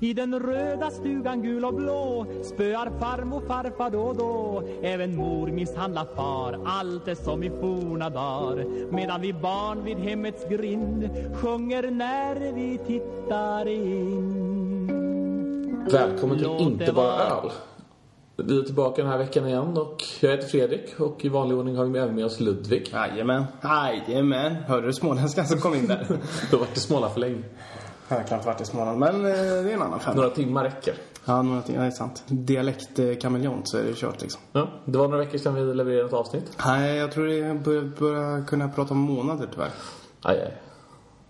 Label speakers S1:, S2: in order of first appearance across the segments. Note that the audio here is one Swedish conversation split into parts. S1: den röda stugan gul och blå spöar farmor farfar då och då. Även mor misshandlar far, allt är som i forna dagar. Medan vi barn vid hemmets grind sjunger när vi tittar in.
S2: Välkommen till
S1: Låt
S2: Inte
S1: det
S2: bara
S1: vara.
S2: öl. Vi är tillbaka den här veckan igen och jag heter Fredrik och i vanlig ordning har vi även med oss Ludvig.
S3: Jajamän. Jajamän. Hörde du småländskan som kom in där?
S2: Du har varit i Småland för länge.
S3: Jag har knappt varit i Småland, men eh, det är en annan femma.
S2: Några timmar räcker.
S3: Ja, någonting. Ja, det är sant. Dialektkameleont så är det kört liksom.
S2: Ja, det var några veckor sedan vi levererade ett avsnitt.
S3: Nej, jag tror det börjar, börjar kunna prata om månader tyvärr.
S2: Aj, aj.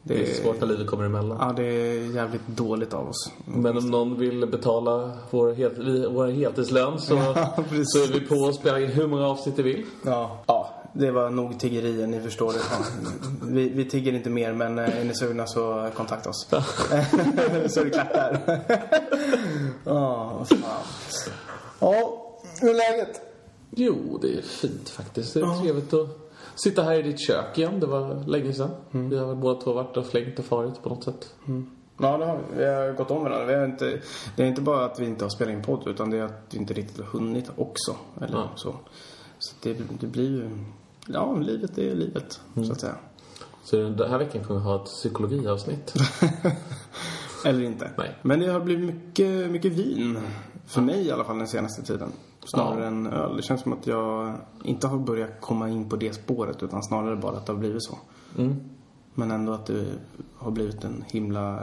S2: Det är svårt när livet kommer emellan.
S3: Ja, det är jävligt dåligt av oss.
S2: Men om någon vill betala vår, helt, vi- vår heltidslön så,
S3: Ja, precis.
S2: så är vi på att spela in hur många avsnitt du vill.
S3: Ja. ja, det var nog tiggerier, ni förstår det. Ja. Vi, vi tigger inte mer, men eh, är ni sugna så kontakta oss. så är det klart där. Ja, fan. Ja, hur är läget?
S2: Jo, det är fint faktiskt. Det är trevligt att sitta här i ditt kök igen. Det var länge sedan. Vi har båda två varit och flängt och farit på något sätt.
S3: Ja, det har vi. Vi har gått om varandra. Vi har inte, det är inte bara att vi inte har spelat in podd, utan det är att vi inte riktigt har hunnit också. Eller
S2: Ja.
S3: så. Så det, det blir ju... Ja, livet är livet,
S2: Mm.
S3: så att säga.
S2: Så den här veckan kommer vi ha ett psykologiavsnitt.
S3: Eller inte.
S2: Nej.
S3: Men det har blivit mycket, mycket vin. För mig i alla fall den senaste tiden. Snarare
S2: Ja.
S3: än öl. Det känns som att jag inte har börjat komma in på det spåret, utan snarare bara att det har blivit så.
S2: Mm.
S3: Men ändå att det har blivit en himla,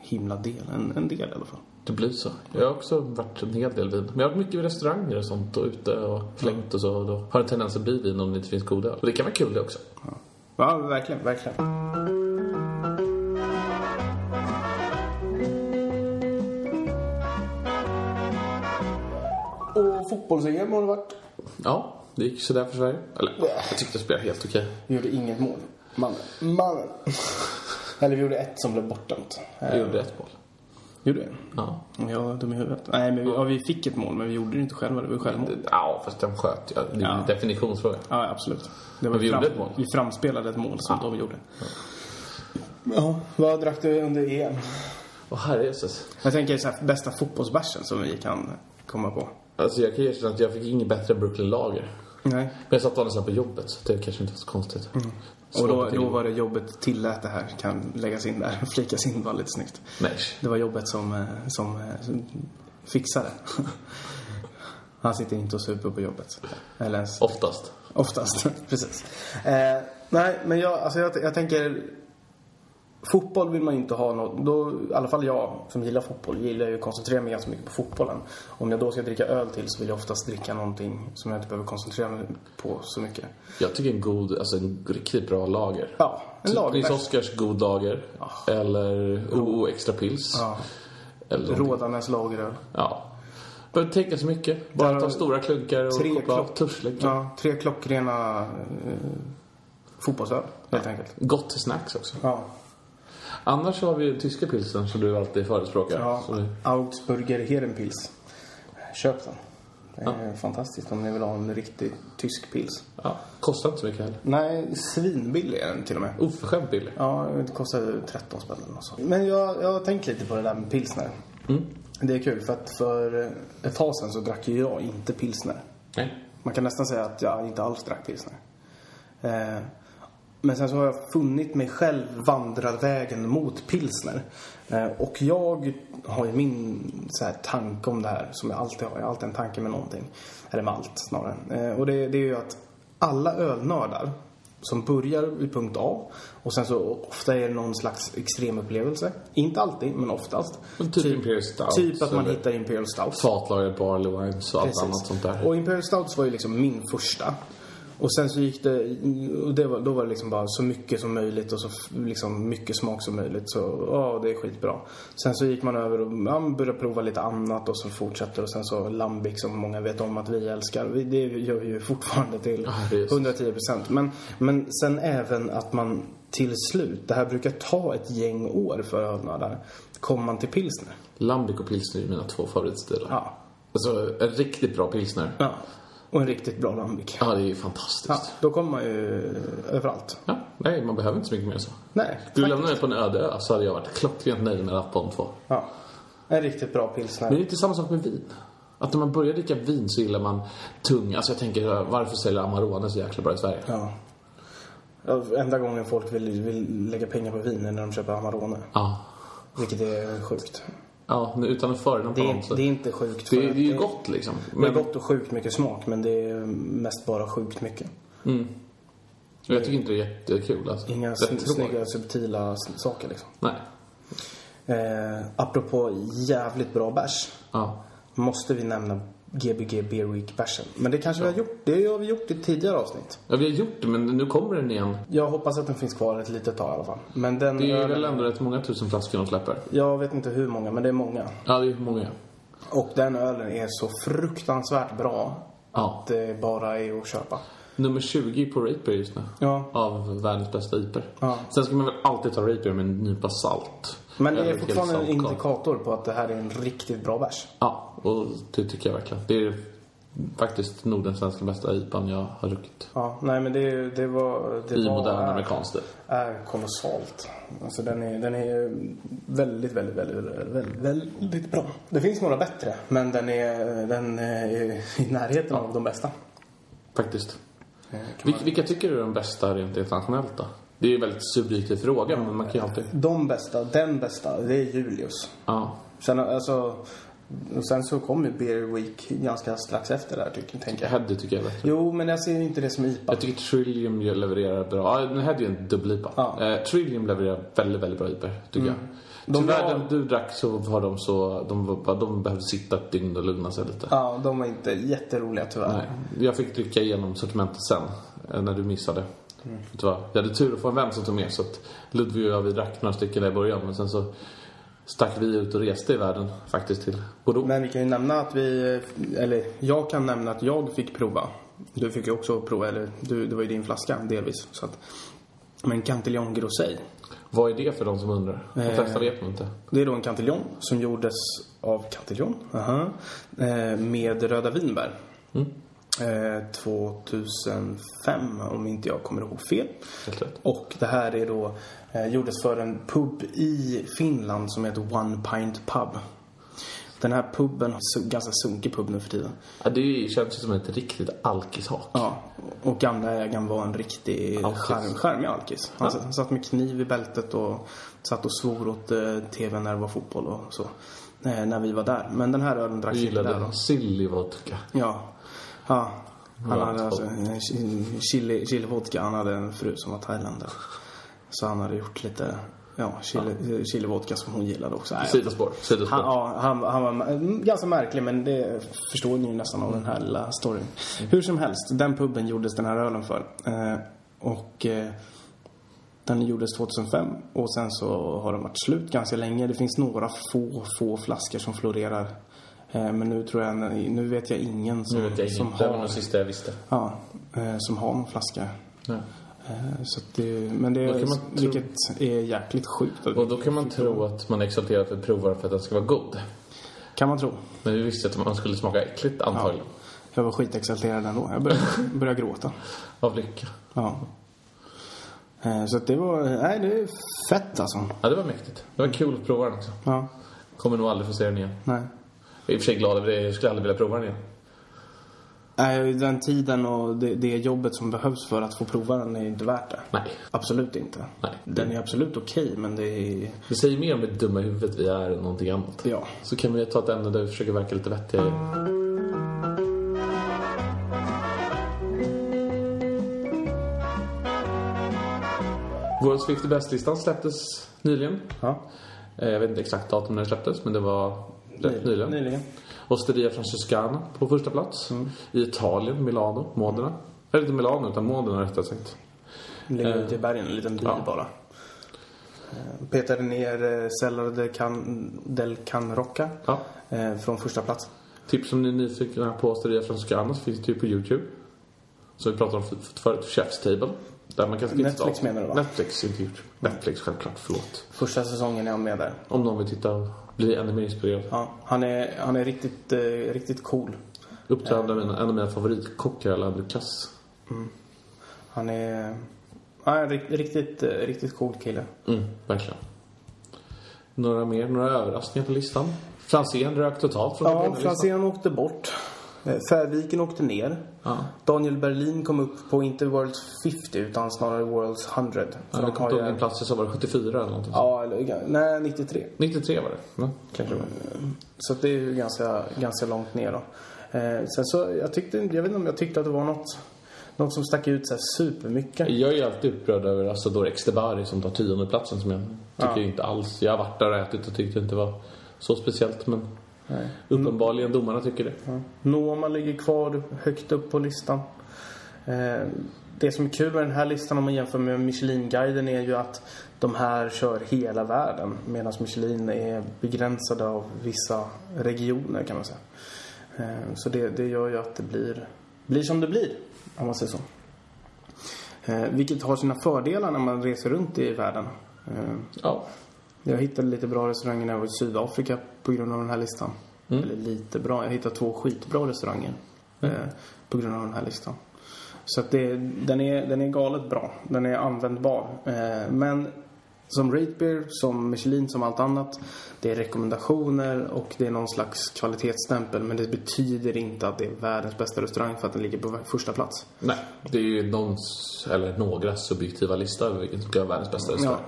S3: himla del. En, en del i alla fall.
S2: Det blir så. Jag har också varit en hel del vin. Men jag har varit mycket i restauranger och sånt och ute och flängt och så. Och då har det tendens att bli vin om det inte finns god öl. Och det kan vara kul det också.
S3: Ja, verkligen, verkligen. Och fotbolls-EM har det varit.
S2: Ja, det gick sådär för Sverige. Eller, jag tyckte det spelade helt okej.
S3: Vi gjorde inget mål. Mannen. Mannen. Eller vi gjorde ett som blev bortdömt.
S2: Jag gjorde ett mål.
S3: Gjorde vi?
S2: Ja.
S3: Jag var dum i huvudet. Nej, men vi, ja, vi fick ett mål, men vi gjorde det inte själva. Det var ju självmål.
S2: Ja, fast den sköt jag. Det är en
S3: Ja.
S2: definitionsfråga.
S3: Ja, absolut. Det var
S2: Men vi
S3: fram-
S2: gjorde ett mål.
S3: Vi framspelade ett mål som de gjorde. Ja, vad drack du under EM?
S2: Åh herrejösses.
S3: Jag tänker så här, bästa fotbollsbärsen som vi kan komma på.
S2: Alltså jag kan erkänna att jag fick inget bättre Brooklyn Lager.
S3: Nej.
S2: Men jag satt vanligtvis på jobbet så det kanske inte var så konstigt.
S3: Och då,
S2: Svårt att-
S3: då var det jobbet tillät det här kan läggas in där. Flikas in var lite snyggt.
S2: Nej.
S3: Det var jobbet som, eh, som, eh, som fixade. Han sitter inte och super på jobbet. Eller ens
S2: Oftast.
S3: oftast. Precis. Eh, nej, men jag, alltså jag, jag tänker... Fotboll vill man inte ha något... Då, I alla fall jag som gillar fotboll gillar ju att koncentrera mig ganska mycket på fotbollen. Om jag då ska dricka öl till så vill jag oftast dricka någonting som jag inte behöver koncentrera mig på så mycket.
S2: Jag tycker en god, alltså en riktigt bra lager.
S3: Ja, en
S2: Typ
S3: lagerbärs.
S2: Nils Oskars god lager. Eller OO extra pils.
S3: Ja.
S2: Eller någonting.
S3: Rådanäs lageröl.
S2: Ja. Behöver inte tänka så mycket. Bara
S3: Där-
S2: ta stora klunkar och
S3: Tre,
S2: koppla av
S3: klock...
S2: törstsläckor.
S3: ja, tre klockrena eh, fotbollsöl, helt enkelt.
S2: Gott till snacks också.
S3: Ja.
S2: Annars har vi ju tyska pilsen som du alltid förespråkar.
S3: ja.
S2: Så det-
S3: Augsburger Herenpils. Köp den. Det är fantastiskt om ni vill ha en riktig tysk pils.
S2: ja. Kostar inte så mycket heller.
S3: Nej, svinbillig är den till och med.
S2: Oförskämt billig.
S3: Ja, det kostar 13 spänn eller något sånt. Men jag, jag har tänkt lite på det där med pilsner.
S2: Mm.
S3: Det är kul för att för ett tag sedan så drack ju jag inte pilsner.
S2: Nej.
S3: Man kan nästan säga att jag inte alls drack pilsner. Eh, men sen så har jag funnit mig själv vandra vägen mot pilsner. Eh, och jag har ju min så här, tanke om det här, som jag alltid har. Jag har alltid en tanke med någonting. Eller med allt snarare. Eh, och det, det är ju att alla ölnördar som börjar vid punkt A och sen så ofta är det någon slags extremupplevelse. Inte alltid, men oftast.
S2: Men typ Imperial Stout,
S3: Typ att man
S2: eller-
S3: hittar Imperial Stout.
S2: Fatlager, barley wines och allt annat sånt där.
S3: Och Imperial Stouts var ju liksom min första. Och sen så gick det, och det var, då var det liksom bara så mycket som möjligt och så f- liksom mycket smak som möjligt. Så ja, det är skitbra. Sen så gick man över och ja, man började prova lite annat och så fortsatte och sen så Lambic som många vet om att vi älskar. Vi- Det gör vi ju fortfarande till
S2: det är så.
S3: 110 procent. Men, men sen även att man till slut, det här brukar ta ett gäng år för ölnördar, kommer man till pilsner.
S2: Lambic och pilsner är mina två favoritstilar.
S3: Ja.
S2: Alltså, en riktigt bra pilsner.
S3: Ja. Och en riktigt bra Lambic.
S2: Ja, det är ju
S3: Ja,
S2: fantastiskt.
S3: då kommer man ju
S2: eh,
S3: överallt.
S2: Ja. Nej, man behöver inte så mycket mer än så.
S3: Nej.
S2: Du lämnar mig på en öde ö så hade jag varit klockrent nöjd med Rappholm 2.
S3: Ja. En riktigt bra pilsner.
S2: Men det är inte samma sak med vin. Att när man börjar dricka vin så gillar man tung. Alltså jag tänker, varför säljer Amarone så jäkla bra i Sverige?
S3: Ja. Ja, Enda gången folk vill, vill lägga pengar på vin är när de köper Amarone.
S2: Ja.
S3: Vilket är sjukt.
S2: Ja, nu, utan att föregå
S3: Det är,
S2: någon
S3: inte, det är inte sjukt.
S2: det,
S3: för
S2: är-
S3: att
S2: det är ju gott liksom.
S3: Det är
S2: Men
S3: gott och sjukt mycket smak, men det är mest bara sjukt mycket.
S2: jag tycker inte det är jättekul. Alltså.
S3: Inga
S2: Rätt
S3: sn-
S2: tråkigt.
S3: snygga, subtila s- saker liksom.
S2: Nej.
S3: Eh, apropå jävligt bra bärs.
S2: Ja.
S3: Måste vi nämna Gbg Beer Week-bärsen. Men det kanske vi har gjort. Det har vi gjort i tidigare avsnitt.
S2: ja, vi har gjort det men nu kommer den igen.
S3: Jag hoppas att den finns kvar ett litet tag i alla fall. Men den...
S2: Det är väl ändå rätt många tusen flaskor de släpper.
S3: Jag vet inte hur många, men det är många.
S2: Ja, det är många.
S3: Och den ölen är så fruktansvärt bra
S2: Ja.
S3: att det bara är att köpa.
S2: Nummer 20 på Rapier just nu.
S3: Ja.
S2: Av världens bästa IPer.
S3: Ja.
S2: Sen ska man väl alltid ta Rapier med en nypa salt.
S3: Men det
S2: Eller
S3: är
S2: ett
S3: fortfarande en
S2: helt saltkorn.
S3: indikator på att det här är en riktigt bra bärs.
S2: Ja, och det tycker jag verkligen. Det är faktiskt nog den svenska bästa IPan jag har druckit.
S3: Ja, nej men det, det var... Det
S2: I
S3: var,
S2: modern
S3: är-
S2: amerikansk stil.
S3: Är kolossalt. Alltså den är, den är väldigt, väldigt, väldigt, väldigt, väldigt bra. Det finns några bättre, men den är, den är i närheten av de bästa. Eh,
S2: Faktiskt. Vil- vilka tycker du är de bästa rent internationellt då? Det är ju en väldigt subjektiv fråga, men man kan ju alltid...
S3: De bästa, den bästa, det är Julius.
S2: Ja.
S3: Sen, alltså, och sen så kom ju Beer Week ganska strax efter där, tycker, tänker jag.
S2: Heddy tycker jag är bättre.
S3: Jo, men jag ser inte det som IPA.
S2: Jag tycker Trillium ju levererar bra. Ja, den här är ju en dubbel-IPA.
S3: Ja. Mm.
S2: Eh, Trillium levererar väldigt, väldigt bra IPA, tycker jag.
S3: De
S2: Tyvärr,
S3: var-
S2: den du drack så har de så... De, var- de behövde sitta ett dygn och lugna sig lite.
S3: Ja, de var inte jätteroliga tyvärr.
S2: Nej, jag fick dricka igenom sortimentet sen, eh, när du missade.
S3: Mm.
S2: Tyvärr. Jag hade tur att få en vän som tog med, så att Ludvig och jag vi drack några stycken där i början, men sen så stack vi ut och reste i världen, faktiskt, till Bordeaux.
S3: Men vi kan ju nämna att vi, eller jag kan nämna att jag fick prova. Du fick ju också prova, eller du, det var ju din flaska delvis. Så att, men Cantillon Grosset.
S2: Vad är det för de som undrar? De
S3: Eh.
S2: flesta vet nog inte.
S3: Det är då en Cantillon som gjordes av Cantillon aha, eh, med röda vinbär.
S2: Mm.
S3: Eh, 2005 om inte jag kommer ihåg fel.
S2: Helt rätt.
S3: Och det här är då, eh, gjordes för en pub i Finland som heter One Pint Pub. Den här puben, su- ganska sunkig pub nu för tiden.
S2: Ja, det känns ju som ett riktigt alkishak.
S3: Ja, och gamla ägaren var en riktig
S2: Alkis.
S3: skärm, skärmig alkis. Han satt, han satt med kniv i bältet och satt och svor åt eh, tvn när det var fotboll och så. Eh, när vi var där. Men den här ölen
S2: Jag
S3: dracks inte
S2: gillade
S3: där då.
S2: den. Silly vodka.
S3: Ja. ja. Han
S2: Ja,
S3: hade
S2: två.
S3: alltså en chi- chili, chili vodka. Han hade en fru som var thailändare. Så han hade gjort lite ja, chili, eh, chili vodka som hon gillade också. Nej,
S2: Sidospår. Sidospår.
S3: han, ja, han, han var mm, ganska märklig men det förstår ni ju nästan av den här lilla storyn.
S2: Mm.
S3: Hur som helst, den puben gjordes den här ölen för. Eh, och eh, den gjordes 2005 och sen så har den varit slut ganska länge. Det finns några få, få flaskor som florerar. Eh, men nu tror jag, nu vet jag ingen som,
S2: Nu vet jag
S3: som
S2: inget. Det var
S3: har
S2: nog sista jag visste.
S3: Ja, eh, som har någon flaska.
S2: Ja.
S3: Eh, Så att det, men det,
S2: Då kan man tro-
S3: vilket är jäkligt sjukt.
S2: Och då kan man tro att man är exalterad för provar för att den ska vara god.
S3: Kan man tro.
S2: Men vi visste att man skulle smaka äckligt antagligen.
S3: Jag var skitexalterad ändå. Jag började, började gråta.
S2: Av lycka.
S3: Ja. Eh, Så att det var... Nej, det är fett alltså.
S2: Ja, det var mäktigt. Det var kul att prova den också.
S3: Ja.
S2: Kommer nog aldrig få se den igen.
S3: Nej.
S2: Jag är i och för sig glad över det. Jag skulle aldrig vilja prova den igen.
S3: Nej, den tiden och det, det jobbet som behövs för att få prova den är inte värt det.
S2: Nej.
S3: Absolut inte.
S2: Nej.
S3: Den är absolut okej, men det är...
S2: Det säger mer om det dumma huvudet vi är än någonting annat.
S3: Ja.
S2: Så kan vi ta ett ämne där vi försöker verka lite vettiga. Vår Swift Best-listan släpptes nyligen.
S3: Ja.
S2: Eh, Jag vet inte exakt datum när den släpptes, men det var rätt nyligen.
S3: Nyligen.
S2: Osteria Francescana på första plats.
S3: Mm.
S2: I Italien, Milano, Modena. Eller inte Milano, utan Modena rättare sagt.
S3: Den Ligger ute i bergen, en liten by
S2: Eh, ja.
S3: bara. Eh, Petade ner Cellar del, Can, del Can Rocca
S2: Ja.
S3: eh, från första plats.
S2: Tips om ni är nyfikna på Osteria Francescana så finns det ju på Youtube. Som vi pratade om för- för- förut, Chef's Table. Där man kan titta
S3: Netflix
S2: på-
S3: menar du, va?
S2: Netflix, inte Youtube. Netflix självklart, förlåt.
S3: Första säsongen är han med där.
S2: Om någon vill titta och bli ännu mer inspirerad.
S3: Ja, han är, han är riktigt, eh, riktigt cool.
S2: Uppträdande av en- en av mina favoritkockar, Alain Ducasse.
S3: Han är... Ja, en rik- riktigt, eh, riktigt cool kille.
S2: Mm, verkligen. Några mer, några överraskningar på listan? Franzén rök totalt från
S3: Ja, liksom.
S2: den listan.
S3: Franzén åkte bort. Eh, Färviken åkte ner.
S2: Ja.
S3: Daniel Berlin kom upp på, inte World's 50, utan snarare World's 100. För
S2: Han
S3: det har
S2: kom
S3: ju-
S2: en plats i så var det 74 eller någonting.
S3: Ja, eller, nej, 93.
S2: 93 var det. Ja, kanske det var.
S3: Så att det är ju ganska, ganska långt ner då. Eh, sen så, jag tyckte, jag vet inte om jag tyckte att det var något, något som stack ut så här supermycket.
S2: Jag är ju alltid upprörd över Asador Ekstebari som tar tiondeplatsen som jag tycker inte alls... Jag har varit där och ätit och tyckte det inte var så speciellt men
S3: Nej. Mm.
S2: uppenbarligen domarna tycker det.
S3: Ja. Noma ligger kvar högt upp på listan. Eh, det som är kul med den här listan om man jämför med Michelin-guiden är ju att de här kör hela världen medan Michelin är begränsade av vissa regioner kan man säga. Eh, så det, det gör ju att det blir, blir som det blir om man säger så. Eh, vilket har sina fördelar när man reser runt i världen. Eh,
S2: Ja.
S3: jag hittade lite bra restauranger när jag var i Sydafrika på grund av den här listan. Eller lite bra. Jag hittade två skitbra restauranger eh, på grund av den här listan. Så att det, den, är, den är galet bra. Den är användbar. Eh, men som Ratebeer, som Michelin, som allt annat. Det är rekommendationer och det är någon slags kvalitetsstämpel. Men det betyder inte att det är världens bästa restaurang för att den ligger på första plats.
S2: Nej, det är ju någons, eller några subjektiva lista över vilken som ska vara världens bästa restaurang.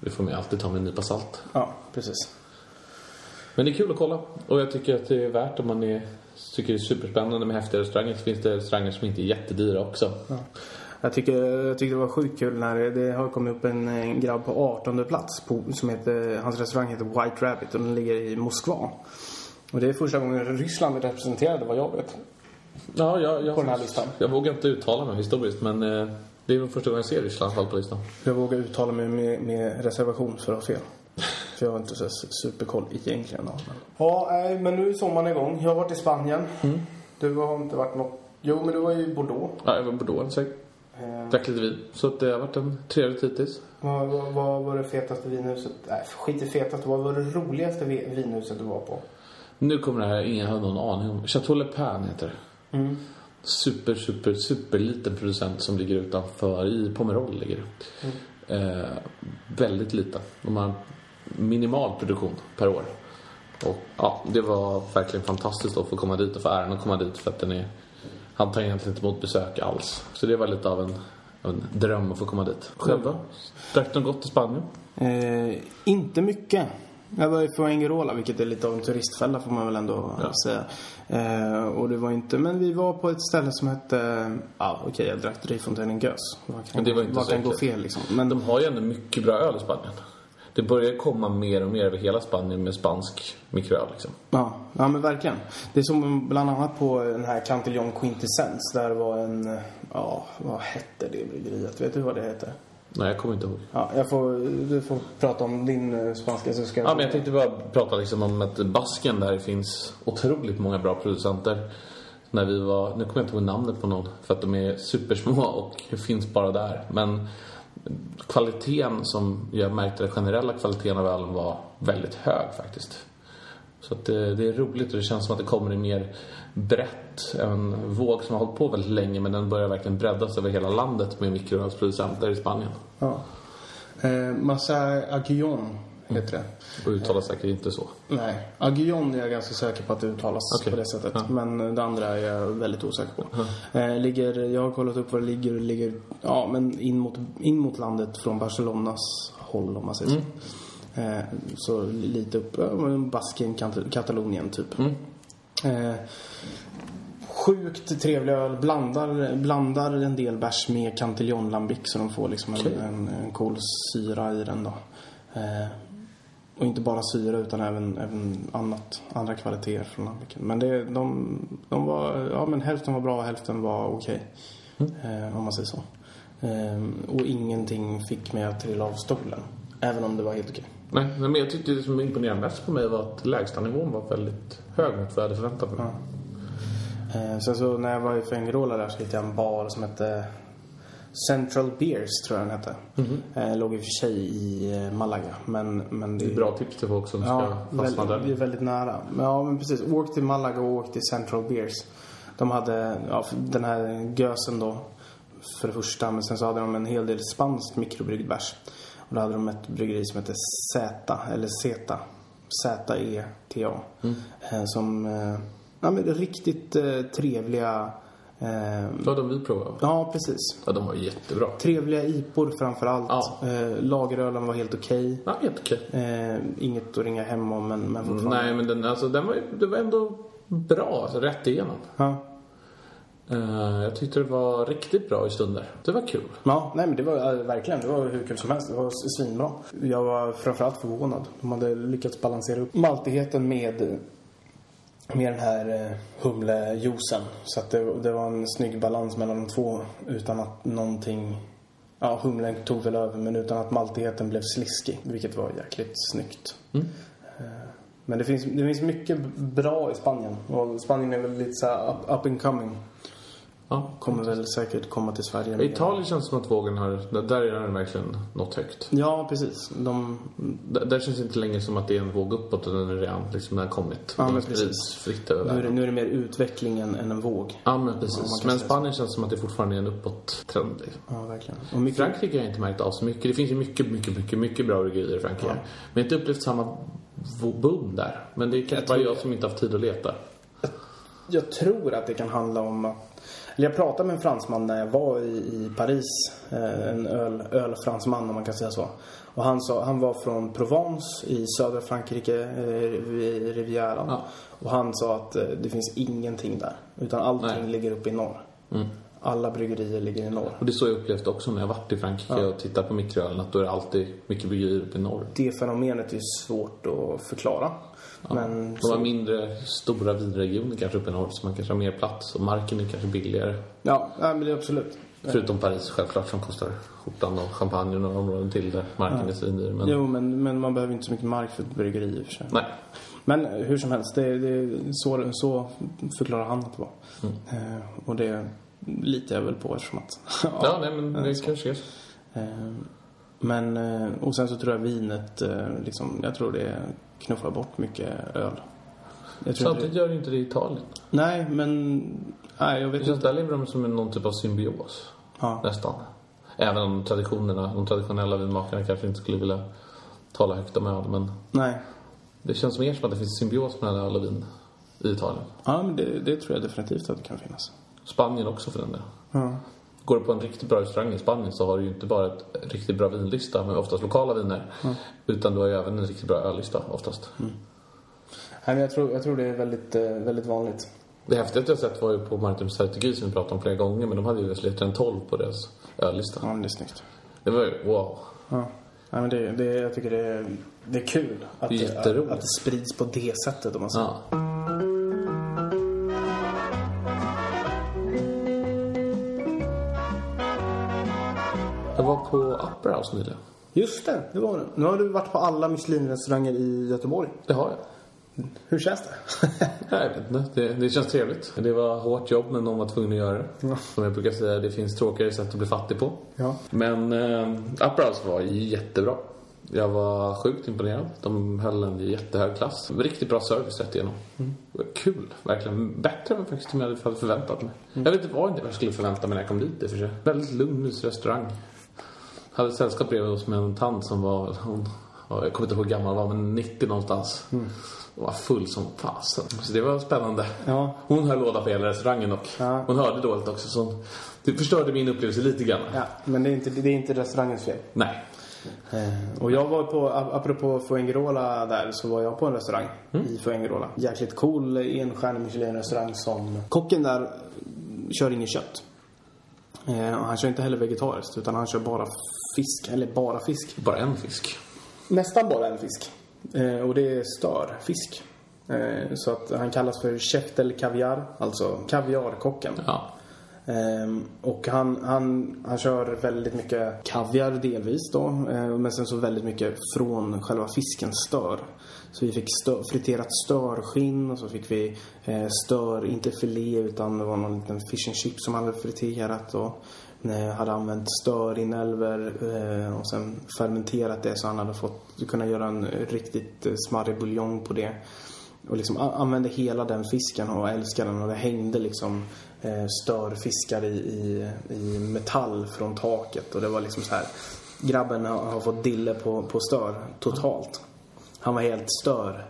S2: Det får man ju alltid ta med en nypa salt.
S3: Ja, precis.
S2: Men det är kul att kolla. Och jag tycker att det är värt om man är, tycker det är superspännande med häftiga restauranger. Så finns det restauranger som inte är jättedyra också.
S3: Jag tycker, jag tycker det var sjukt kul när det, det har kommit upp en, en grabb på 18 plats på, som heter, hans restaurang heter White Rabbit och den ligger i Moskva. Och det är första gången Ryssland är representerade vad jag vet.
S2: Ja, jag, jag,
S3: På den här listan.
S2: Jag vågar inte uttala mig historiskt men eh, det är väl första gången jag ser Ryssland i alla fall på listan.
S3: Jag vågar uttala mig med, med reservation för att ha fel. För jag har inte så här superkoll egentligen. av det. Ja, nej, men nu är sommaren igång. Jag har varit i Spanien. Du har inte varit något... Jo, men du var ju i Bordeaux.
S2: Ja, jag var i Bordeaux en sväng.
S3: Eh,
S2: Drack lite vin. Så att det har varit en trevlig tid hittills.
S3: vad, vad, vad var det fetaste vinhuset? Nej, skit i fetaste. Vad var det roligaste vi- vinhuset du var på?
S2: Nu kommer det här ingen har någon aning om. Chateau Le Pen heter det. Super, super, super liten producent som ligger utanför. I Pomerol ligger det. Eh, väldigt liten. De har minimal produktion per år. Och ja, det var verkligen fantastiskt att få komma dit och få äran att komma dit för att den är... Han tar egentligen inte emot besök alls. Så det var lite av en, av en dröm att få komma dit. Själv då? Drack något gott i Spanien?
S3: Eh, inte mycket. Jag var ju på Angerola, vilket är lite av en turistfälla får man väl ändå
S2: Ja.
S3: säga. Eh, och det var inte, men vi var på ett ställe som hette, ja okej jag drack Drivfontänen Gös. Vad kan,
S2: Det var inte
S3: vad
S2: så
S3: kan gå
S2: äckligt.
S3: fel liksom? Men
S2: De har ju ändå mycket bra öl i Spanien. Det börjar komma mer och mer över hela Spanien med spansk mikroöl. Liksom.
S3: Ja, ja men verkligen. Det är som bland annat på den här Cantillon Quintessence. Där var en, ja vad hette det bryggeriet? Vet du vad det hette?
S2: Nej, jag kommer inte ihåg.
S3: Ja, jag får, du får prata om din eh, spanska så ska
S2: Ja, men jag tänkte bara prata liksom om att Basken där finns otroligt många bra producenter. När vi var, nu kommer jag inte ihåg namnet på någon för att de är supersmå och finns bara där. Men kvaliteten som jag märkte, den generella kvaliteten av ölen var väldigt hög faktiskt. Så att eh, det, det är roligt och det känns som att det kommer in mer brett. En våg som har hållit på väldigt länge men den börjar verkligen breddas över hela landet med mikroölsproducenter i Spanien.
S3: Ja. Eh, Massa Aguillon heter det.
S2: Och uttalas säkert inte så.
S3: Nej, Aguillon är jag ganska säker på att det uttalas
S2: Mm. Okej.
S3: på det sättet.
S2: Ja.
S3: Men det andra är jag väldigt osäker på. Eh, ligger, jag har kollat upp var det ligger. Det ligger ja, men in, mot, in mot landet från Barcelonas håll om man säger så.
S2: Mm.
S3: Eh, så lite upp, ja, men Baskien, Kat- Katalonien typ.
S2: Mm.
S3: Eh, Sjukt trevlig öl. Blandar, blandar en del bärs med Cantillon Lambic så de får liksom en,
S2: Okej.
S3: en, en cool syra i den då. Eh, och inte bara syra utan även, även annat, andra kvaliteter från Lambicen. Men det, de, de var, ja men hälften var bra och hälften var okej. Eh, om man säger så. Eh, och ingenting fick mig att trilla av stolen. Även om det var helt okej.
S2: Nej, nej, men jag tyckte det som imponerade mest på mig var att lägstanivån var väldigt hög mot vad jag hade förväntat mig.
S3: Eh, sen så när jag var i Fuengirola där så hittade jag en bar som hette Central Beers tror jag den hette. Eh, låg i och för sig i eh, Malaga. Men, men det
S2: Det är bra tips till folk som ska
S3: Ja,
S2: fastna
S3: väldigt, det är
S2: där.
S3: väldigt nära. Men Ja, men precis. Åk till Malaga och åk till Central Beers. De hade ja, för- den här gösen då, för det första. Men sen så hade de en hel del spanskt mikrobryggd bärs. Och då hade de ett bryggeri som hette Zeta, eller Zeta. Z-E-T-A.
S2: Mm.
S3: Eh, som, eh, ja men riktigt eh, trevliga, eh,
S2: Det var de vi provade.
S3: ja precis.
S2: Ja, de var jättebra.
S3: Trevliga IPor framför allt.
S2: Ja.
S3: Eh, lagerölen var helt okej.
S2: Ja, jättekul.
S3: Eh, inget att ringa hem om men, men fortfarande.
S2: Nej, men den, alltså, den var, ju- det var ändå bra, alltså, rätt igenom.
S3: Ja.
S2: Eh, jag tyckte det var riktigt bra i stunder. Det var kul.
S3: Ja, nej men det var eh, verkligen, det var hur kul som helst. Det var s- svinbra. Jag var framförallt förvånad. De hade lyckats balansera upp maltigheten med, eh, med den här eh, humlejuicen. Så att det, det var en snygg balans mellan de två utan att någonting... Ja, humlen tog väl över men utan att maltigheten blev sliskig. Vilket var jäkligt snyggt. Eh, Men det finns, det finns mycket b- bra i Spanien. Och Spanien är väl lite så här up, up and coming.
S2: Ja.
S3: Kommer väl säkert komma till Sverige.
S2: I
S3: med-
S2: Italien känns det som att vågen har... där- Där är den verkligen nått högt.
S3: Ja, precis. De,
S2: Där, där känns det inte längre som att det är en våg uppåt, utan den är redan liksom, den har kommit.
S3: Ja,
S2: Den
S3: men precis.
S2: sprids fritt över
S3: nu, är det,
S2: världen.
S3: nu är det mer utvecklingen än en våg.
S2: Ja, men
S3: Ja, man
S2: precis.
S3: kan
S2: men
S3: säga
S2: Spanien känns som att det fortfarande är en uppåt-trend. Liksom.
S3: Ja, verkligen. Och
S2: I
S3: mycket,
S2: Frankrike har jag inte märkt av så mycket. Det finns ju mycket, mycket, mycket, mycket bra bryggerier i Frankrike.
S3: Ja.
S2: Men jag har inte upplevt samma vo- boom där. Men det är kanske bara
S3: tror
S2: jag
S3: det.
S2: som inte haft tid att leta.
S3: jag tror att det kan handla om att... Eller jag pratade med en fransman när jag var i, i Paris. Eh, En öl, ölfransman om man kan säga så. Och han, sa, han var från Provence i södra Frankrike, eh, vid Rivieran.
S2: Ja.
S3: Och han sa att eh, det finns ingenting där. Utan allting
S2: Nej. Mm.
S3: ligger uppe i norr. Alla bryggerier ligger i norr.
S2: Och det är så jag upplevt också när jag varit i Frankrike och tittat på mikroölen. Att då är det alltid mycket bryggerier uppe i norr.
S3: Det fenomenet är ju svårt att förklara. Men
S2: De har mindre stora vinregioner kanske uppe i norr. Så man kanske har mer plats och marken är kanske billigare.
S3: Ja, nej, men det är absolut.
S2: Förutom Paris självklart som kostar skjortan och champagnen och områden till där marken är svindyr. Men
S3: Jo, men, men man behöver inte så mycket mark för ett bryggeri i och för sig.
S2: nej.
S3: Men hur som helst, det, det, så, så förklarar han att det var.
S2: Mm.
S3: Eh, och det litar jag väl på eftersom att...
S2: Ja, nej men det kanske är så.
S3: Eh, men, eh, och sen så tror jag vinet, eh, liksom, jag tror det knuffar bort mycket öl. Jag tror Mm. inte,
S2: Samtidigt gör det inte det i Italien.
S3: nej, men... Nej, jag vet
S2: Det
S3: inte.
S2: känns där lever de som en- någon typ av symbios.
S3: Ja,
S2: Nästan. Även om traditionerna, de traditionella vinmakarna kanske inte skulle vilja tala högt om öl. Men
S3: nej.
S2: det känns mer som att det finns symbios mellan öl och vin i Italien.
S3: Ja, men det, det tror jag definitivt att det kan finnas.
S2: Spanien också för den delen.
S3: Ja.
S2: Går du på en riktigt bra restaurang i Spanien så har du ju inte bara ett riktigt bra vinlista med oftast lokala viner.
S3: Mm.
S2: Utan du har ju även en riktigt bra öllista oftast.
S3: Nej, men jag tror, jag tror det är väldigt, eh, väldigt vanligt.
S2: Det häftigaste jag sett var ju på Martin Sertegi som vi pratade om flera gånger. Men de hade ju släppt en 12 på deras öllista.
S3: Ja, men det är snyggt.
S2: Det var ju wow.
S3: Ja. Nej, men det, det, jag tycker det är, det är kul att
S2: Det är jätteroligt.
S3: att det sprids på det sättet. Om man säger.
S2: Ja. Jag var på Upper House nyligen.
S3: Just det, det var det. Nu har du varit på alla Michelin-restauranger i Göteborg.
S2: Det har jag.
S3: Hur känns det?
S2: Nej, jag vet inte. Det, det känns trevligt. Det var hårt jobb, men de var tvungna att göra det.
S3: Ja.
S2: Som jag brukar säga, det finns tråkigare sätt att bli fattig på.
S3: Ja.
S2: Men eh, Upper House var jättebra. Jag var sjukt imponerad. De höll en jättehög klass. Riktigt bra service rätt igenom.
S3: Mm.
S2: Kul, verkligen. Bättre än faktiskt som jag hade förväntat mig.
S3: Mm.
S2: Jag vet inte vad jag skulle förvänta mig när jag kom dit i och för sig. Väldigt lugn, mysig restaurang. Hade sällskap bredvid oss med en tant som var, hon, ja, jag kommer inte ihåg hur gammal hon var, men 90 någonstans.
S3: Mm.
S2: Hon var full som fasen. Så det var spännande.
S3: Ja.
S2: Hon höll låda på hela restaurangen och
S3: Ja.
S2: hon hörde dåligt också. Så hon, det förstörde min upplevelse lite grann.
S3: Ja, men det är inte, det är inte restaurangens fel.
S2: Nej.
S3: Eh, Och jag var på, ap- apropå Fuengirola där, så var jag på en restaurang
S2: Mm.
S3: i Fuengirola. Jäkligt cool enstjärnig Michelin-restaurang som... Kocken där eh, kör inget kött. Eh, och han kör inte heller vegetariskt, utan han kör bara fisk. Eller bara fisk.
S2: Bara en fisk.
S3: Nästan bara en fisk. Eh, och det är störfisk. Eh, så att han kallas för Käftel Kaviar, alltså kaviarkocken.
S2: Ja.
S3: Ehm, och han, han, han kör väldigt mycket kaviar delvis då. eh, men sen så väldigt mycket från själva fiskens stör. Så vi fick stör, friterat störskinn och så fick vi eh, stör, inte filé utan det var någon liten fish and chip som han hade friterat och eh, hade använt störinälvor eh, och sen fermenterat det så han hade fått kunna göra en riktigt eh, smarrig buljong på det. Och liksom a- använde hela den fisken och älskade den. Och det hängde liksom eh, störfiskar i, i, i metall från taket. Och det var liksom så här. Grabben har, har fått dille på, på stör totalt. Han var helt störd.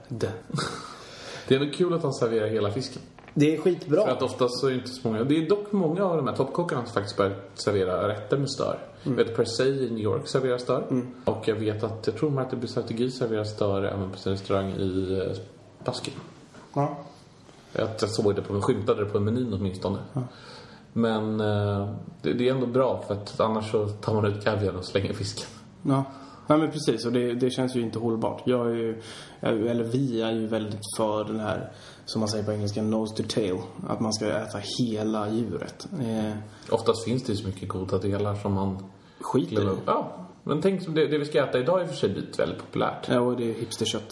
S2: Det är nog kul att han serverar hela fisken.
S3: Det är skitbra.
S2: För att oftast så är det inte så många. Det är dock många av de här toppkockarna som faktiskt börjar servera rätter med stör. Jag vet Per se i New York serverar stör. Och jag vet att, jag tror att det blir strategi serverar stör även på sin restaurang i eh, Baskien.
S3: Ja.
S2: Jag, jag såg det på, jag skymtade det på menyn åtminstone. Men eh, det, det är ändå bra för att annars så tar man ut kaviaren och slänger fisken.
S3: Ja. Nej men precis och det, det känns ju inte hållbart. Jag är ju, jag- eller vi är ju väldigt för den här, som man säger på engelska, nose to tail. Att man ska äta hela djuret. Eh,
S2: Oftast finns det ju så mycket goda delar som man
S3: skit i
S2: glömmer.
S3: det.
S2: Ja, men tänk som det, det vi ska äta idag är i och för sig blivit väldigt populärt. Ja,
S3: Ja och det är hipsterkött.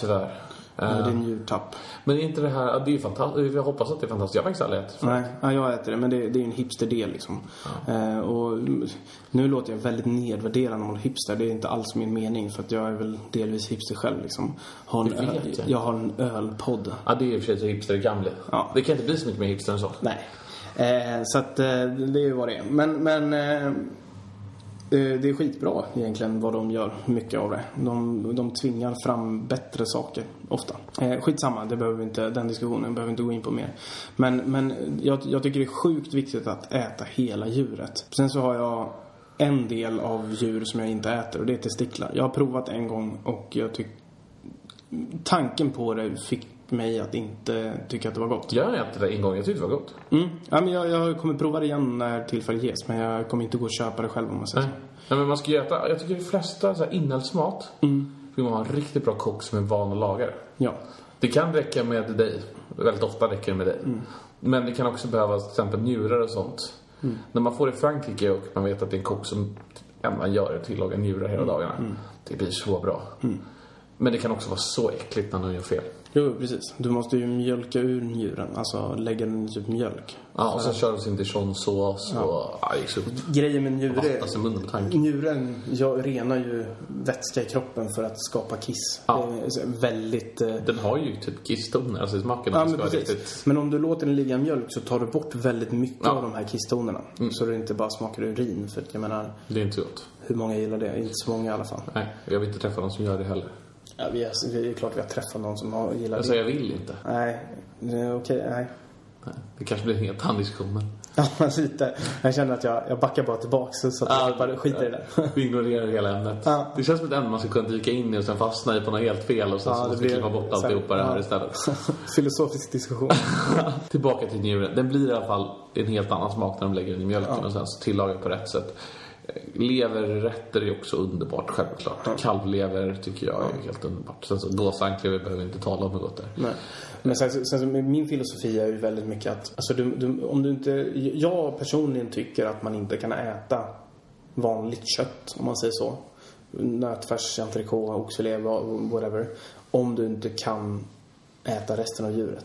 S2: tyvärr. Eh,
S3: Eller Det är njurtapp.
S2: Men är inte det här, ja, det är ju fantastiskt. eh, Jag hoppas att det är fantastiskt. Jag har faktiskt aldrig ätit.
S3: Nej, ja, jag äter det men det, det är ju en hipsterdel liksom. Eh, och mm, nu låter jag väldigt nedvärderande om hipster. Det är inte alls min mening för att jag är väl delvis hipster själv liksom. Har en
S2: Det vet
S3: öl,
S2: jag.
S3: jag har en ölpodd.
S2: Ja, det är i och för sig så hipster gamle.
S3: Ja.
S2: Det kan inte bli så mycket mer hipster än så.
S3: Nej. Eh, så att eh, det är ju vad det är. Men, men eh, eh, det är skitbra egentligen vad de gör, mycket av det. De, de tvingar fram bättre saker, ofta. Eh, skitsamma, det behöver vi inte, den diskussionen behöver vi inte gå in på mer. Men, men jag, jag tycker det är sjukt viktigt att äta hela djuret. Sen så har jag en del av djur som jag inte äter och det är testiklar. Jag har provat en gång och jag tyck, tanken på det fick mig att inte tycka att det var gott.
S2: Jag har ätit det en gång. Jag tyckte det var gott.
S3: Mm. Ja, men jag, jag kommer prova det igen när tillfälle ges, men jag kommer inte gå och köpa det själv om man säger
S2: Nej. Nej, men man ska ju äta. Jag tycker de flesta så här, inälvsmat vill man ha en riktigt bra kock som är van att laga det.
S3: så. Ja.
S2: Det kan räcka med dig. Väldigt ofta räcker det med dig.
S3: Mm.
S2: Men det kan också behövas till exempel njurar och sånt.
S3: Mm.
S2: När man får det i Frankrike och man vet att det är en kock som enda gör det, tillagar njurar hela
S3: Mm.
S2: dagarna. Det blir så bra. Men det kan också vara så äckligt när någon gör fel.
S3: Jo, precis. Du måste ju mjölka ur njuren, alltså lägga den i typ mjölk.
S2: Ja, och sen kör de sin dijon-sås och... Ja, det är så Alltså,
S3: Grejen med njure...
S2: Vattnas i munnen på tanken.
S3: Njuren jag renar ju vätska i kroppen för att skapa kiss.
S2: Ja.
S3: Det är så väldigt... eh,
S2: Den har ju typ kisstoner, alltså i smaken.
S3: Ja,
S2: Det
S3: men
S2: ska vara
S3: precis.
S2: riktigt-
S3: Men om du låter den ligga i mjölk så tar du bort väldigt mycket
S2: Ja. Mm.
S3: av de här kisstonerna. Så det inte bara smakar urin. För att jag menar,
S2: Det är inte gott.
S3: hur många gillar det? Inte så många i alla fall.
S2: Nej, jag vill inte träffa någon som gör det heller.
S3: Ja, vi är, det är klart vi har träffat någon som har, gillar
S2: Alltså,
S3: det.
S2: jag vill inte.
S3: Nej, eh, okej, nej.
S2: Nej, Det kanske blir en helt annan diskussion, men...
S3: Ja, men lite. Jag känner att jag, jag backar bara tillbaks så att jag bara skiter i det.
S2: Vi ignorerar hela ämnet.
S3: Ja.
S2: Det känns som ett ämne man ska kunna dyka in i och sen fastna i på något helt fel och sen
S3: Ja,
S2: så
S3: det
S2: måste vi
S3: blir-
S2: klippa bort
S3: sen-
S2: alltihopa det här
S3: ja.
S2: istället.
S3: Filosofisk diskussion.
S2: Tillbaka till njuren. Den blir i alla fall en helt annan smak när de lägger den i mjölken och sen så tillagar på rätt sätt. Eh, Leverrätter är också underbart självklart. Kalvlever tycker jag är helt underbart. Sen så gåsanklever behöver vi inte tala om hur gott det är.
S3: Nej. Men sen, sen, så min filosofi är ju väldigt mycket att alltså du, du, om du inte, jag personligen tycker att man inte kan äta vanligt kött om man säger så. Nötfärs, entrecote, oxfilé, wha- whatever. Om du inte kan äta resten av djuret.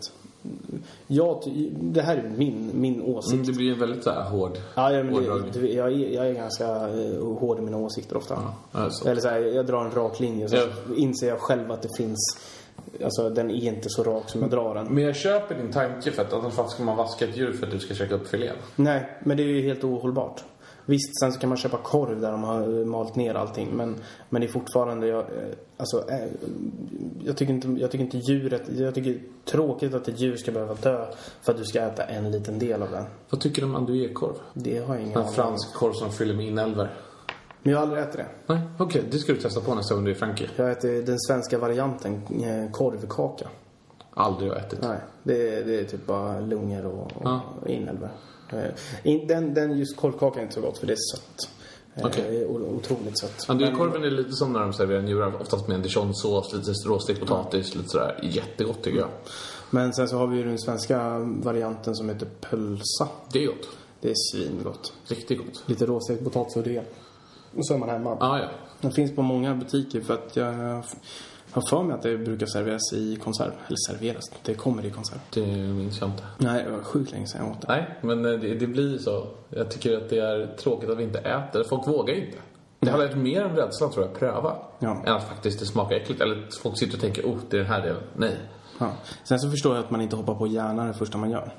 S3: Jag, ty- det här är min, min åsikt.
S2: Mm, Det blir en väldigt så här hård
S3: Ja, ja, men
S2: hårdragning.
S3: det, du, jag, är, jag är ganska eh, hård i mina åsikter ofta.
S2: ja, så.
S3: Eller så här, jag drar en rak linje så
S2: Ja.
S3: inser jag själv att det finns... Alltså den är inte så rak som jag drar den.
S2: Men jag köper din tanke för att annars varför ska man vaska ett djur för att du ska käka upp filén?
S3: Nej, men det är ju helt ohållbart. Visst, sen så kan man köpa korv där de har eh, malt ner allting. Men, men det är fortfarande... Jag, eh, alltså, eh, jag, tycker inte, jag tycker inte djuret... Jag tycker det är tråkigt att ett djur ska behöva dö för att du ska äta en liten del av den.
S2: Vad tycker du om andouillekorv?
S3: Det har jag ingen
S2: En
S3: aning om.
S2: fransk korv som fyller med inälvor.
S3: Men jag har aldrig ätit det.
S2: Nej, okej. Det ska du testa på nästa gång du är i Frankrike.
S3: Jag äter den svenska varianten eh, korvkaka.
S2: Aldrig har jag ätit.
S3: Nej, det, är- det är typ bara lungor och, och
S2: Ja.
S3: inälvor. Eh, in- Den, den just korvkakan är inte så gott för det är sött. Eh,
S2: Okej.
S3: det är o- Otroligt sött.
S2: Andouillekorven är lite som när de serverar njurar. Oftast med en dijon-sås, lite råstekt potatis, lite sådär. Jättegott tycker jag.
S3: Men sen så har vi ju den svenska varianten som heter pölsa.
S2: Det är gott.
S3: Det är svingott.
S2: Riktigt gott.
S3: Lite råstekt potatis och det. Och så är man hemma.
S2: Ah, ja.
S3: Den finns på många butiker för att jag har för mig att det brukar serveras i konserv. Eller serveras, det kommer i konserv.
S2: Det minns jag inte.
S3: Nej, det var sjukt länge sedan jag åt det.
S2: Nej, men eh, det, det blir så. Jag tycker att det är tråkigt att vi inte äter. Folk vågar inte. Det hade varit mer en rädsla tror jag, att pröva.
S3: Ja.
S2: Än att faktiskt det smakar äckligt. Eller att folk sitter och tänker, oh, det är den här delen. Nej.
S3: Ja. Sen så förstår jag att man inte hoppar på hjärnan det första man gör.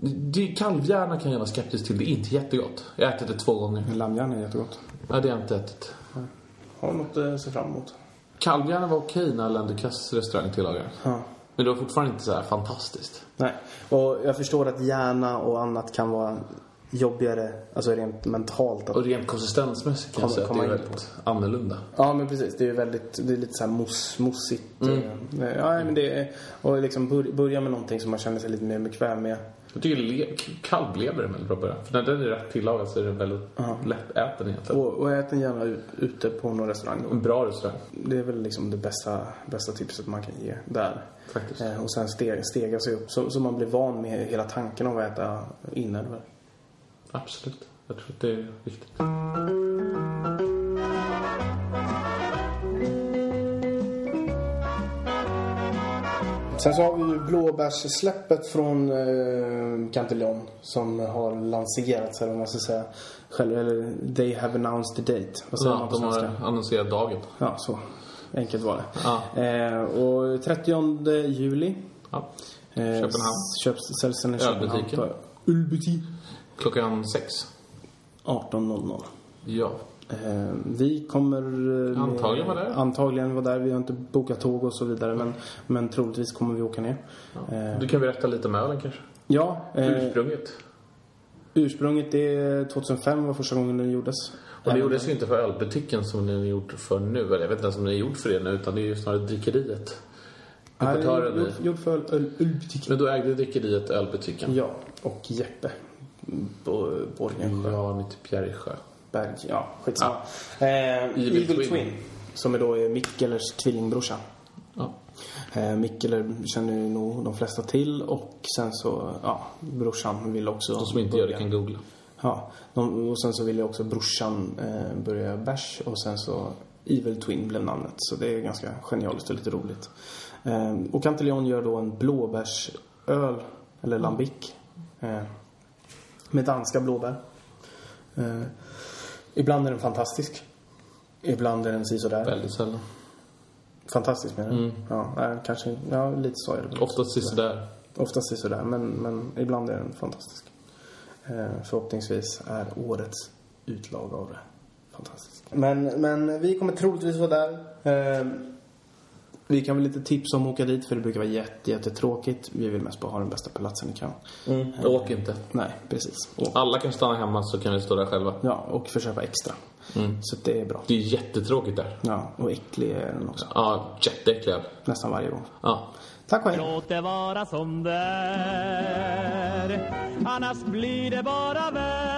S2: Det, kalvhjärna kan jag vara skeptisk till. Det är inte jättegott. Jag har ätit det två gånger.
S3: Men lammhjärna är jättegott.
S2: Ja, det har jag inte ätit.
S3: Har du något eh, att se fram emot?
S2: Kalgarna var okej när Lendukas restaurang tillagade.
S3: Ja.
S2: Men det var fortfarande inte så här fantastiskt.
S3: Nej. Och jag förstår att hjärna och annat kan vara jobbigare, alltså rent mentalt. Att...
S2: Och rent konsistensmässigt kan jag
S3: Kommer-
S2: säga att det
S3: komma
S2: är
S3: in
S2: väldigt annorlunda.
S3: Ja, men precis. Det är ju väldigt, det är lite så här mos, mossigt. Eh, Ja, men det är, och liksom bör, börja med någonting som man känner sig lite mer bekväm med.
S2: Jag tycker le- kalvlever är en väldigt bra början. För när den är rätt tillagad så är den väldigt lättäten egentligen.
S3: Och, och ät den gärna ut, ute på någon restaurang då.
S2: En bra restaurang
S3: Det är väl liksom det bästa, bästa tipset man kan ge där.
S2: faktiskt.
S3: Eh, och sen steg, stega sig upp så, så man blir van med hela tanken om att äta inälvor.
S2: Absolut. Jag tror att det är viktigt.
S3: Sen så har vi ju blåbärssläppet från eh, Cantillon som har lanserats eller vad man ska säga. Själv, eller they have announced the date. Vad säger
S2: Ja,
S3: man på
S2: de har
S3: svenska?
S2: annonserat dagen.
S3: Ja, så. Enkelt var det.
S2: Ja.
S3: Eh, och 30 juli.
S2: Ja.
S3: Eh,
S2: Köpenhamn.
S3: Köps, säljs den i Köpenhamn.
S2: Ölbutiken.
S3: på Ölbutik.
S2: Klockan sex.
S3: 18.00.
S2: Ja.
S3: Eh, vi kommer... eh,
S2: Antagligen vara där.
S3: Antagligen vara där. Vi har inte bokat tåg och så vidare. Men, men troligtvis kommer vi åka ner. Eh,
S2: Du kan berätta lite om ölen kanske?
S3: ja, eh,
S2: Ursprunget.
S3: ursprunget är 2005 var första gången den gjordes.
S2: Och det gjordes ju inte för ölbutiken som den är gjord för nu. Eller jag vet inte ens om den är gjord för det nu, utan det är ju snarare drickeriet.
S3: Nej,
S2: importören i.
S3: gjort, gjort för öl- ölbutiken.
S2: Men då ägde drickeriet ölbutiken.
S3: Ja, och Jeppe. Bo- Borgensjö.
S2: Jan till Bjärresjö.
S3: Berg, ja, skitsamma. Eh, Evil, Twin.
S2: Twin.
S3: Som är då är Mikkelers tvillingbrorsa.
S2: Ja.
S3: Eh, Mikkeler känner ju nog de flesta till och sen så, ja, brorsan vill också...
S2: De som inte gör det kan googla.
S3: Ja, de, och sen så ville ju också brorsan eh, börja bärs och sen så Evil Twin blev namnet. Så det är ganska genialiskt och lite roligt. Eh, och Cantillon gör då en blåbärsöl, eller lambic, eh, med danska blåbär. Eh, ibland är den fantastisk. Ibland är den sisådär.
S2: Väldigt sällan.
S3: Fantastisk menar du? Ja, nej, kanske, ja, lite så är det väl.
S2: Oftast är det sådär.
S3: Oftast är det sådär, men, men ibland är den fantastisk. Eh, förhoppningsvis är årets utlag av det fantastisk. Men, men vi kommer troligtvis vara där. Eh, vi kan väl lite tipsa om att åka dit, för det brukar vara jätte, jättetråkigt. Vi vill mest bara ha den bästa platsen vi kan.
S2: Mm. Åk inte.
S3: Nej, precis. Och,
S2: Alla kan stanna hemma så kan vi stå där själva.
S3: ja, och förköpa extra. Så det är bra.
S2: Det är jättetråkigt där.
S3: Ja, och äcklig är den också.
S2: Ja, jätteäcklig öl.
S3: Nästan varje gång.
S2: Ja.
S3: Tack och hej.
S1: Låt det vara som det är Annars blir det bara värre